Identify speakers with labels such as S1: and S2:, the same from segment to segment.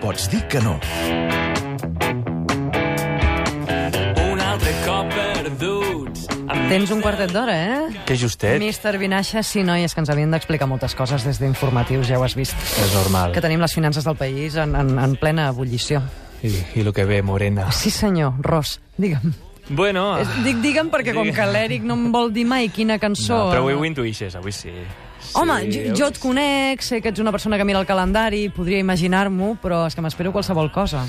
S1: pots dir que no.
S2: Un altre cop perduts. Amb
S3: Tens un quartet d'hora, eh?
S4: Que justet.
S3: Mister Vinaixa, sí, noies, que ens havien d'explicar moltes coses des d'informatius, ja ho has vist.
S4: És normal.
S3: Que tenim les finances del país en, en, en plena ebullició.
S4: I, I lo que ve, morena.
S3: Sí, senyor, Ros, digue'm.
S4: Bueno,
S3: Ah. Dic, digue'm perquè com que l'Eric no em vol dir mai quina cançó... eh?
S4: no, però avui ho intuïxes, avui sí. sí
S3: Home, jo, jo et
S4: avui-
S3: conec, sé que ets una persona que mira el calendari, podria imaginar-m'ho, però és que m'espero qualsevol cosa.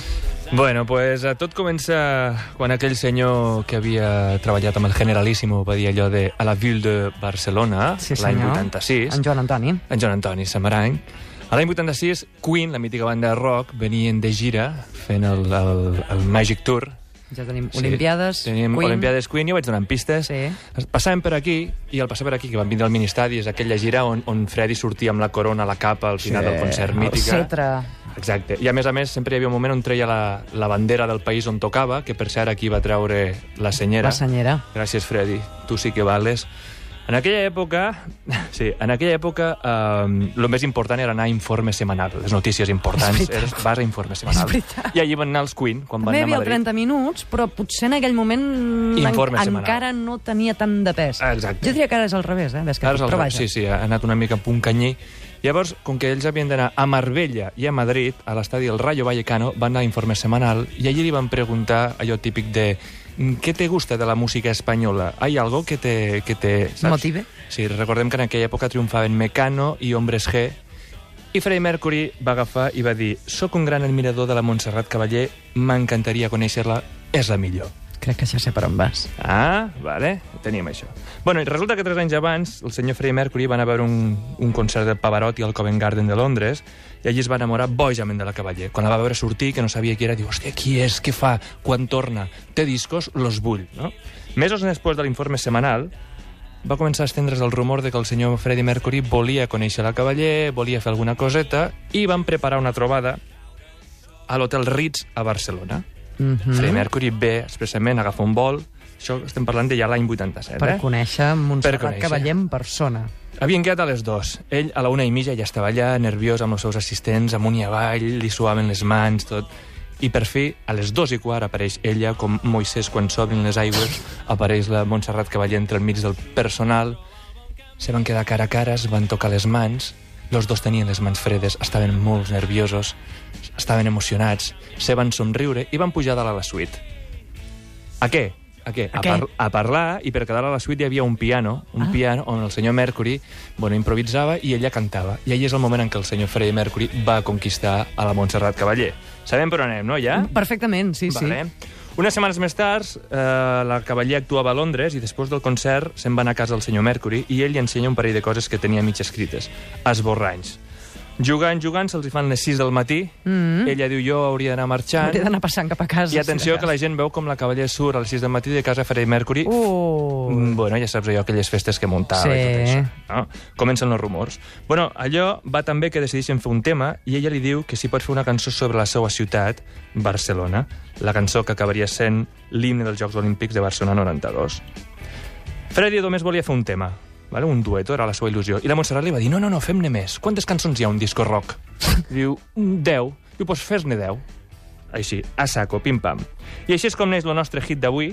S4: Bueno, pues eh, tot comença quan aquell senyor que havia treballat amb el Generalíssimo va dir allò de a la Ville de Barcelona, l'any
S3: senyor.
S4: 86.
S3: En Joan Antoni.
S4: en Joan Antoni Samarany. A l'any 86, Queen, la mítica banda de rock, venien de gira fent el, el, el Magic Tour.
S3: Ja tenim Olimpiades,
S4: sí, tenim
S3: Queen.
S4: Olimpiades Queen, jo vaig donant pistes.
S3: Sí.
S4: Passàvem per aquí, i al passar per aquí, que van vindre al Ministadi, és aquella gira on, on Freddy sortia amb la corona, la capa, al final sí. del concert
S3: El
S4: mítica.
S3: Cetra.
S4: Exacte. I a més a més, sempre hi havia un moment on treia la, la bandera del país on tocava, que per cert aquí va treure la senyera.
S3: La senyera.
S4: Gràcies, Freddy. Tu sí que vales. En aquella època, sí, en aquella època, eh, el més important era anar a informe semanal. Les notícies importants
S3: És veritat.
S4: eres, vas a informe semanal.
S3: veritat.
S4: I allí van anar els Queen, quan
S3: També hi
S4: van anar
S3: havia el
S4: a Madrid.
S3: 30 minuts, però potser en aquell moment en,
S4: Informe semanal.
S3: encara no tenia tant de pes.
S4: Ah, exacte.
S3: Jo diria que ara és al revés, eh? Ves que
S4: Ara és
S3: dic,
S4: el
S3: però
S4: rap,
S3: vaja.
S4: sí, sí, ha anat una mica en punt canyí. Llavors, com que ells havien d'anar a Marbella i a Madrid, a l'estadi del Rayo Vallecano, van anar a informe semanal i allí li van preguntar allò típic de "Mm, què te gusta de la música espanyola? Hay algo que te... Que te saps?"
S3: Motive.
S4: Sí, recordem que en aquella època triomfaven Mecano i Hombres G, i Freddie Mercury va agafar i va dir «Soc un gran admirador de la Montserrat Cavaller, m'encantaria conèixer-la, és la millor».
S3: Crec que ja sé per on vas.
S4: Ah, vale, teníem això. Bueno, i resulta que tres anys abans el senyor Freddie Mercury va anar a veure un, un concert de Pavarotti al Covent Garden de Londres i allí es va enamorar bojament de la Cavaller. Quan la va veure sortir, que no sabia qui era, diu, hòstia, qui és, què fa, quan torna, té discos, los vull, no? Mesos després de l'informe semanal, va començar a estendre's el rumor de que el senyor Freddie Mercury volia conèixer la Cavaller, volia fer alguna coseta, i van preparar una trobada a l'Hotel Ritz a Barcelona.
S3: Mm
S4: Mm. Freddie Mercury ve expressament, agafa un vol, això estem parlant de ja l'any 87,
S3: Per
S4: eh?
S3: conèixer Montserrat
S4: Per conèixer.
S3: Cavaller en persona.
S4: Havien quedat a les dues. Ell a la una i mitja ja estava allà, nerviós amb els seus assistents, amunt i avall, li suaven les mans, tot. I per fi, a les dos i quart, apareix ella, com Moisès quan s'obrin les aigües, apareix la Montserrat Cavaller entre el mig del personal, se van quedar cara a cara, es van tocar les mans, los dos tenien les mans fredes, estaven molt nerviosos, estaven emocionats, se van somriure i van pujar dalt a la suite. A què? A què?
S3: A
S4: A,
S3: què?
S4: par a parlar, i per quedar a la suite hi havia un piano, un
S3: Ah.
S4: ah. piano on el senyor Mercury bueno, improvisava i ella cantava. I ahí és el moment en què el senyor Freddie Mercury va conquistar a la Montserrat Cavaller. Sabem per on anem, no, ja?
S3: Perfectament, Mm, sí, sí.
S4: Vale. Unes setmanes més tard, eh, la Cavaller actuava a Londres i després del concert se'n va anar a casa el senyor Mercury i ell li ensenya un parell de coses que tenia mig escrites. Esborranys. Jugant, jugant, se'ls hi fan les 6 del matí. Mm -hmm. Ella diu, jo hauria d'anar marxant.
S3: Hauria d'anar passant cap a casa.
S4: I atenció, que la gent veu com la Cavaller surt a les 6 del matí de casa Freddie Mercury
S3: Uh,
S4: Mm, Bueno, ja saps allò, aquelles festes que muntava
S3: Sí.
S4: i tot això. No? Comencen els rumors. Bueno, allò va també que decideixen fer un tema i ella li diu que si pot fer una cançó sobre la seva ciutat, Barcelona, la cançó que acabaria sent l'himne dels Jocs Olímpics de Barcelona 92. Freddy només volia fer un tema, vale? un dueto, era la seva il·lusió. I la Montserrat li va dir, no, no, no, fem-ne més. Quantes cançons hi ha a un disco rock? Diu, 10. Diu, doncs fes-ne 10. Així, a saco, pim-pam. I així és com neix el nostre hit d'avui.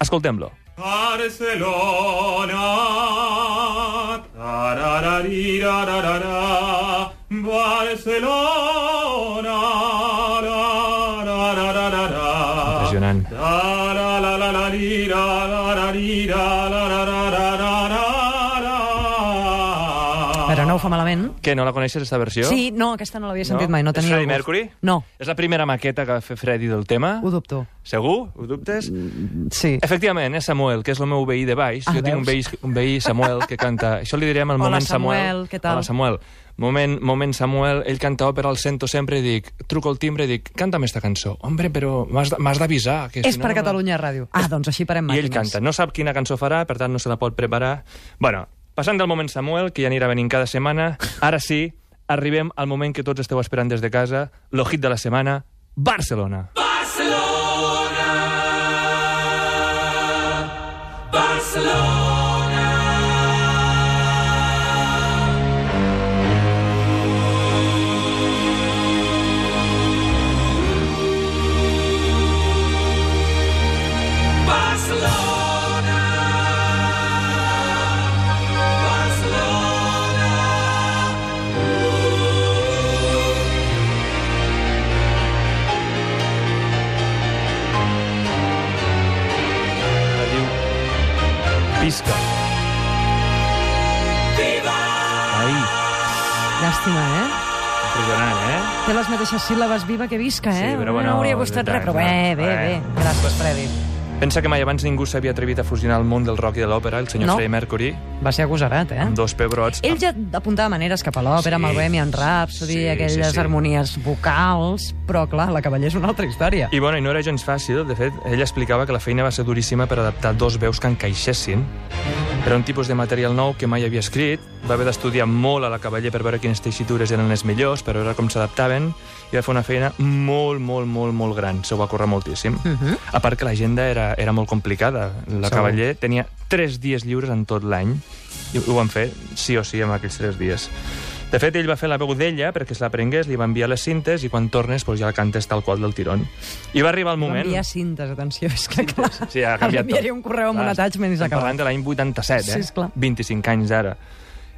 S4: Escoltem-lo.
S5: Barcelona, tarararirararara, Barcelona,
S4: Ah.
S5: tararararara,
S4: Impressionant.
S5: tararararararararara.
S3: Però no ho fa malament.
S4: Que no la coneixes, aquesta versió?
S3: Sí, no, aquesta no l'havia sentit
S4: No?
S3: mai. No
S4: És
S3: tenia
S4: Freddie
S3: gust.
S4: Mercury?
S3: No,
S4: És la primera maqueta que va fer Freddy del tema?
S3: ho dubto.
S4: Segur? Ho dubtes?
S3: Sí.
S4: Eh, Efectivament, és Samuel, que és el meu veí de baix.
S3: Ah,
S4: jo tinc un veí, un veí Samuel que canta... Això li direm al
S3: Hola,
S4: moment Samuel.
S3: Samuel, què tal?
S4: Hola, Samuel. Moment, moment Samuel, ell canta òpera, el sento sempre i dic, truco al timbre i dic, canta'm esta cançó. Hombre, però m'has de- m'has d'avisar. que
S3: És
S4: si no,
S3: per
S4: no- Eh,
S3: Catalunya Ràdio. Ah, doncs així parem
S4: I
S3: màquines.
S4: ell canta. No sap quina cançó farà, per tant no se la pot preparar. Bueno, passant del moment Samuel, que ja anirà venint cada setmana, ara sí, arribem al moment que tots esteu esperant des de casa, lo hit de la setmana, Barcelona. Pisca. Ai,
S3: Llàstima, eh?
S4: impressionant, eh?
S3: Té les mateixes síl·labes viva que visca,
S4: Sí,
S3: eh?
S4: però
S3: no
S4: bueno,
S3: hauria gustat
S4: tant,
S3: res, però bé, bé,
S4: no.
S3: bé.
S4: Bueno.
S3: Gràcies, Freddy.
S4: Pensa que mai abans ningú s'havia atrevit a fusionar el món del rock i de l'òpera, el senyor
S3: No.
S4: Freddie Mercury,
S3: Va ser agosarat, eh?
S4: amb dos pebrots.
S3: Ell ja apuntava maneres cap a l'òpera,
S4: Sí,
S3: amb el Bohemian Rhapsody,
S4: sí, sí,
S3: aquelles
S4: sí.
S3: harmonies vocals, però, clar, la cavaller és una altra història.
S4: I bueno, i no era gens fàcil. De fet, ell explicava que la feina va ser duríssima per adaptar dos veus que encaixessin. Era un tipus de material nou que mai havia escrit, va haver d'estudiar molt a la cavaller per veure quines teixitures eren les millors, per veure com s'adaptaven, i va fer una feina molt, molt, molt, molt gran. S'ho va córrer moltíssim. Uh -huh. A part que l'agenda era, era molt complicada. La
S3: Segur.
S4: cavaller tenia tres dies lliures en tot l'any, i ho van fer sí o sí en aquells tres dies. De fet, ell va fer la veu d'ella perquè se l'aprengués, li va enviar les cintes i quan tornes doncs, ja la cantes tal qual del tirón. I va arribar el moment...
S3: Enviar cintes, atenció, és que clar...
S4: Sí, ha canviat tot.
S3: Enviaré un correu amb un
S4: Clar,
S3: attachment i
S4: estem
S3: s'acaba.
S4: Parlant de l'any 87, eh?
S3: Sí, esclar.
S4: 25 anys ara.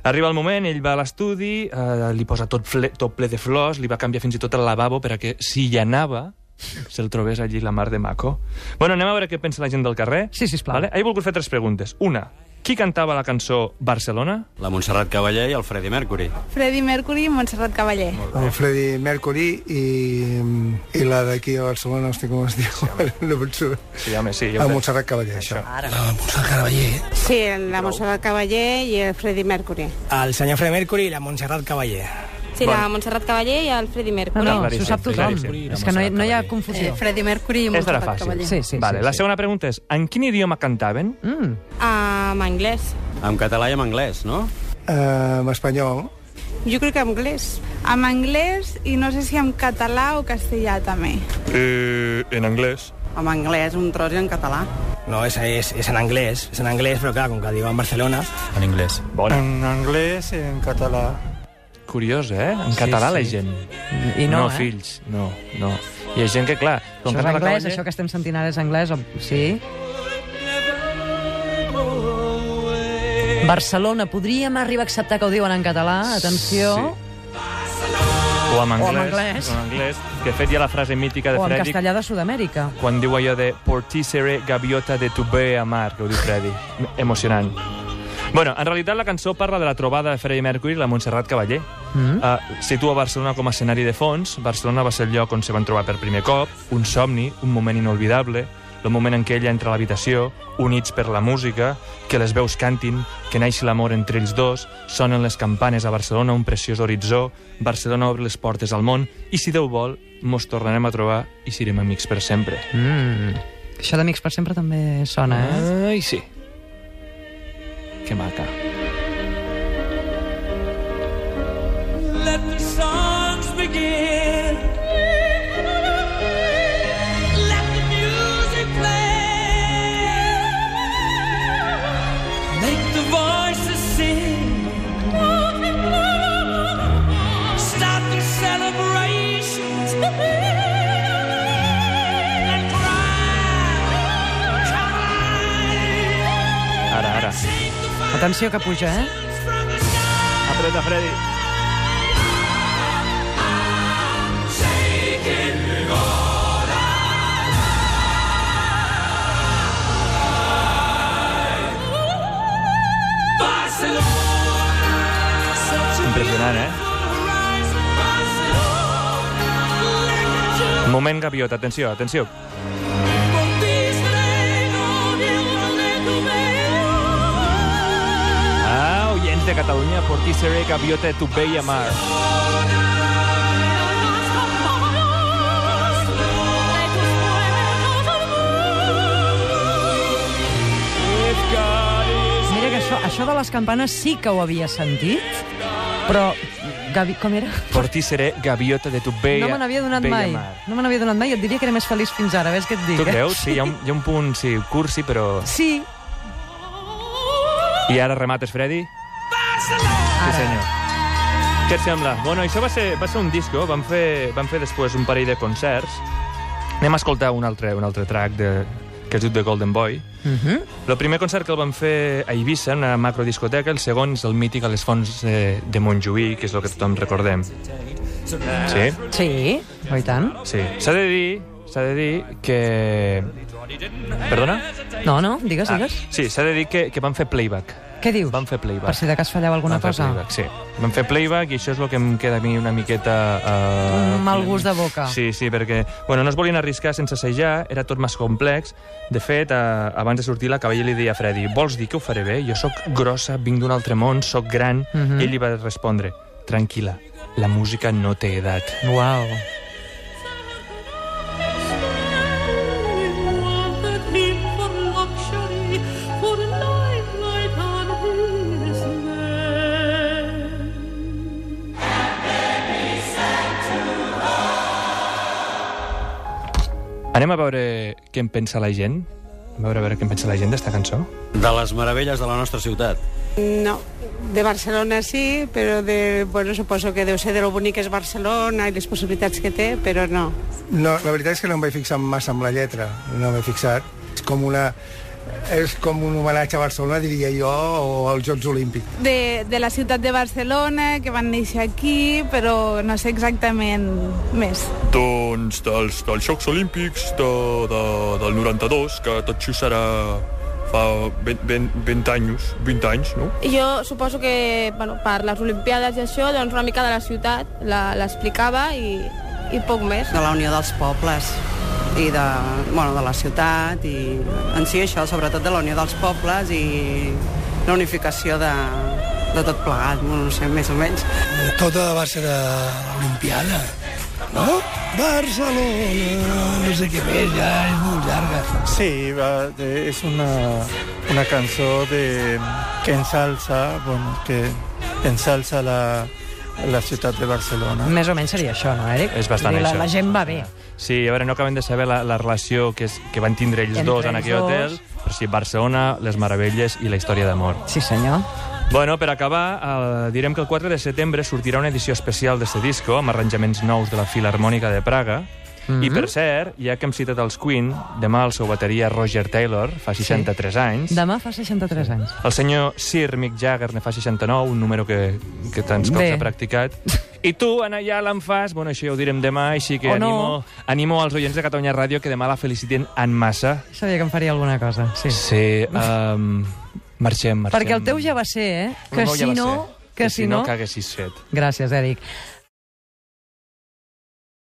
S4: Arriba el moment, ell va a l'estudi, eh, li posa tot ple, tot ple de flors, li va canviar fins i tot el lavabo perquè si hi anava se'l trobés allí la mar de maco. Bueno, anem a veure què pensa la gent del carrer.
S3: Sí, sisplau.
S4: Vale? He volgut fer tres preguntes. Una, qui cantava la cançó Barcelona?
S1: La Montserrat Cavaller i el Freddie Mercury.
S6: Freddie Mercury i Montserrat Cavaller.
S7: El Freddie Eh, Mercury i, mm, i la d'aquí a Barcelona, no sé com es diu, ara no penso.
S4: Sí, home, sí. ja ho
S7: A
S4: sé.
S7: Ah, Montserrat Cavaller, això. Ah,
S6: Sí, la Montserrat Cavaller i el Freddie Mercury.
S8: El senyor Fred Mercury i la Montserrat Cavaller.
S6: Sí, la Montserrat Cavaller i el Freddie
S3: No,
S6: Mercury.
S3: no, s'ho
S4: Claríssim,
S3: sap tothom.
S4: claríssim.
S3: És que no hi, no hi ha confusió.
S6: eh, Freddie Mercury i
S4: Esta era fàcil.
S3: Sí, sí,
S4: vale,
S3: sí,
S4: la
S3: sí.
S4: segona pregunta és, en quin idioma cantaven?
S3: Mm.
S6: Ah, en anglès.
S1: En català i en anglès, no?
S7: Eh, en espanyol,
S6: Jo crec que en anglès. En anglès i no sé si en català o castellà també.
S4: Eh, en anglès.
S6: En anglès, un tros i en català.
S8: No, és, és, és en anglès, és en anglès, però clar, com que diuen Barcelona...
S1: En anglès.
S4: Bona.
S9: En anglès, en català.
S4: Curiós, eh? En català
S8: sí.
S4: la gent.
S3: I no,
S4: no
S3: eh?
S4: fills, no, no. Hi ha gent que, clar...
S3: Això és
S4: canta la
S3: anglès,
S4: cavaller-
S3: això que estem sentint ara és anglès, o... sí? Barcelona, podríem arribar a acceptar que ho diuen en català, atenció, sí.
S4: O amb anglès.
S3: O amb anglès.
S4: O en anglès. Que de fet hi ha la frase mítica de
S3: o en
S4: Freddy
S3: castellà de Sud-amèrica.
S4: quan diu allò de Portícere gaviota de tu bé amar, que ho diu Freddy. Emocionant. Bueno, en realitat la cançó parla de la trobada de Freddie Mercury i la Montserrat Cavaller. Mm. Uh, situa Barcelona com a escenari de fons. Barcelona va ser el lloc on se van trobar per primer cop, un somni, un moment inolvidable, el moment en què ella entra a l'habitació, units per la música, que les veus cantin, que naixi l'amor entre ells dos, sonen les campanes a Barcelona, un preciós horitzó, Barcelona obre les portes al món, i si Déu vol, mos tornarem a trobar i serem amics per sempre.
S3: Mm. Això d'Amics per sempre també sona, eh?
S4: Ai, sí. Que maca.
S2: Let the songs begin. Let the music play. Make the voices sing. Start the celebrations. And cry, cry.
S4: Ara, ara.
S2: Sing the
S4: Ah.
S2: fire
S3: Atenció que puja, eh?
S2: from the sky.
S4: Apreta, Freddy. Impressionant, eh? Moment gaviota, atenció, atenció. Ah, oients de Catalunya, Portisere, gaviota, tu veia mar.
S3: Mira que això, això de les campanes sí que ho havia sentit, però... Gavi, com era?
S4: Portisere, gaviota de tu veia,
S3: No me n'havia donat
S4: veia
S3: mai.
S4: mar.
S3: No me n'havia donat mai. Et diria que era més feliç fins ara, ves què et dic,
S4: Tu
S3: eh?
S4: creus? Sí, hi ha un, hi ha un punt, sí, cursi, però...
S3: Sí,
S4: I ara remates, Freddy? Sí, senyor. Què et sembla? Bueno, això va ser, va ser un disco, vam fer, vam fer després un parell de concerts. Anem a escoltar un altre, un altre track de, que es diu The Golden Boy. Uh -huh. El primer concert que el vam fer a Eivissa, en una macrodiscoteca, el segon és el mític a les fonts de, de Montjuïc, que és el que tothom recordem. Sí?
S3: sí, oi tant.
S4: Sí. S'ha de dir, s'ha de dir que... Perdona?
S3: No, no, digues, digues.
S4: Ah, Sí, s'ha de dir que, que van fer playback.
S3: Ah. Què dius?
S4: Van fer playback.
S3: Per si de cas fallava alguna
S4: van fer
S3: cosa.
S4: Playback, sí. Van fer playback i això és el que em queda a mi una miqueta... Uh,
S3: Un mal gust de boca.
S4: Sí, sí, perquè bueno, no es volien arriscar sense assajar, era tot més complex. De fet, eh, abans de sortir la Cavallé li deia a Freddy vols dir que ho faré bé? Jo sóc grossa, vinc d'un altre món, sóc gran.
S3: Mhm.
S4: Ell li va respondre, tranquil·la, la música no té edat.
S3: Uau.
S4: Anem a veure què en pensa la gent. A veure, a veure què en pensa la gent d'esta cançó.
S1: De les meravelles de la nostra ciutat.
S10: No, de Barcelona sí, però de, bueno, suposo que deu ser de lo bonic que és Barcelona i les possibilitats que té, però no.
S7: No, la veritat és que no em vaig fixar massa amb la lletra, no m'he fixat. És com una... És com un homenatge a Barcelona, diria jo, o als Jocs Olímpics.
S6: De, de la ciutat de Barcelona, que van néixer aquí, però no sé exactament més.
S11: Doncs dels, dels Jocs Olímpics de, de, del 92, que tot just serà fa 20, 20, 20 anys, 20 anys, no?
S12: Jo suposo que bueno, per les Olimpiades i això, doncs una mica de la ciutat la- l'explicava i, i poc més.
S13: de la unió dels pobles i de, bueno, de la ciutat i en si això, sobretot de la unió dels pobles i la unificació de, de tot plegat, bueno, no sé, més o menys.
S14: Tota va ser de l'Olimpiada, no? Barcelona, no sé què més, ja és molt llarga.
S9: Sí, va, de- es una, una canción de, que ensalza, bueno, que ensalza la, la ciudad de Barcelona.
S3: Més o menys seria això, no, Eric?
S4: És bastant
S3: Vull dir, la,
S4: això.
S3: La gent va bé.
S4: Sí, a veure, no acabem de saber la, la relació que, és, que van tindre ells
S3: Entre
S4: dos en
S3: ells
S4: aquell
S3: dos.
S4: hotel, però sí, Barcelona, les meravelles i la història d'amor.
S3: Sí, senyor.
S4: Bueno, per acabar, eh, direm que el 4 de setembre sortirà una edició especial d'este disco amb arranjaments nous de la Filarmònica de Praga. Mm
S3: Mhm.
S4: -hmm. I, per cert, ja que hem citat els Queen, demà el seu bateria Roger Taylor fa 63 sí. anys,
S3: Demà fa 63 anys.
S4: el senyor Sir Mick Jagger ne fa 69, un número que, que tants cops
S3: Bé.
S4: ha practicat, i tu, Anna, ja l'en fas... Bueno, això ja ho direm demà, així que
S3: O no.
S4: animo, animo als oients de Catalunya Ràdio que demà la felicitin en massa.
S3: Sabia que em faria alguna cosa, sí.
S4: Sí, um, marxem, marxem.
S3: Perquè el teu ja va ser, eh?
S4: El meu
S3: Que
S4: ja
S3: si
S4: va
S3: no...
S4: ser.
S3: Que si no...
S4: que haguessis fet.
S3: Gràcies, Eric.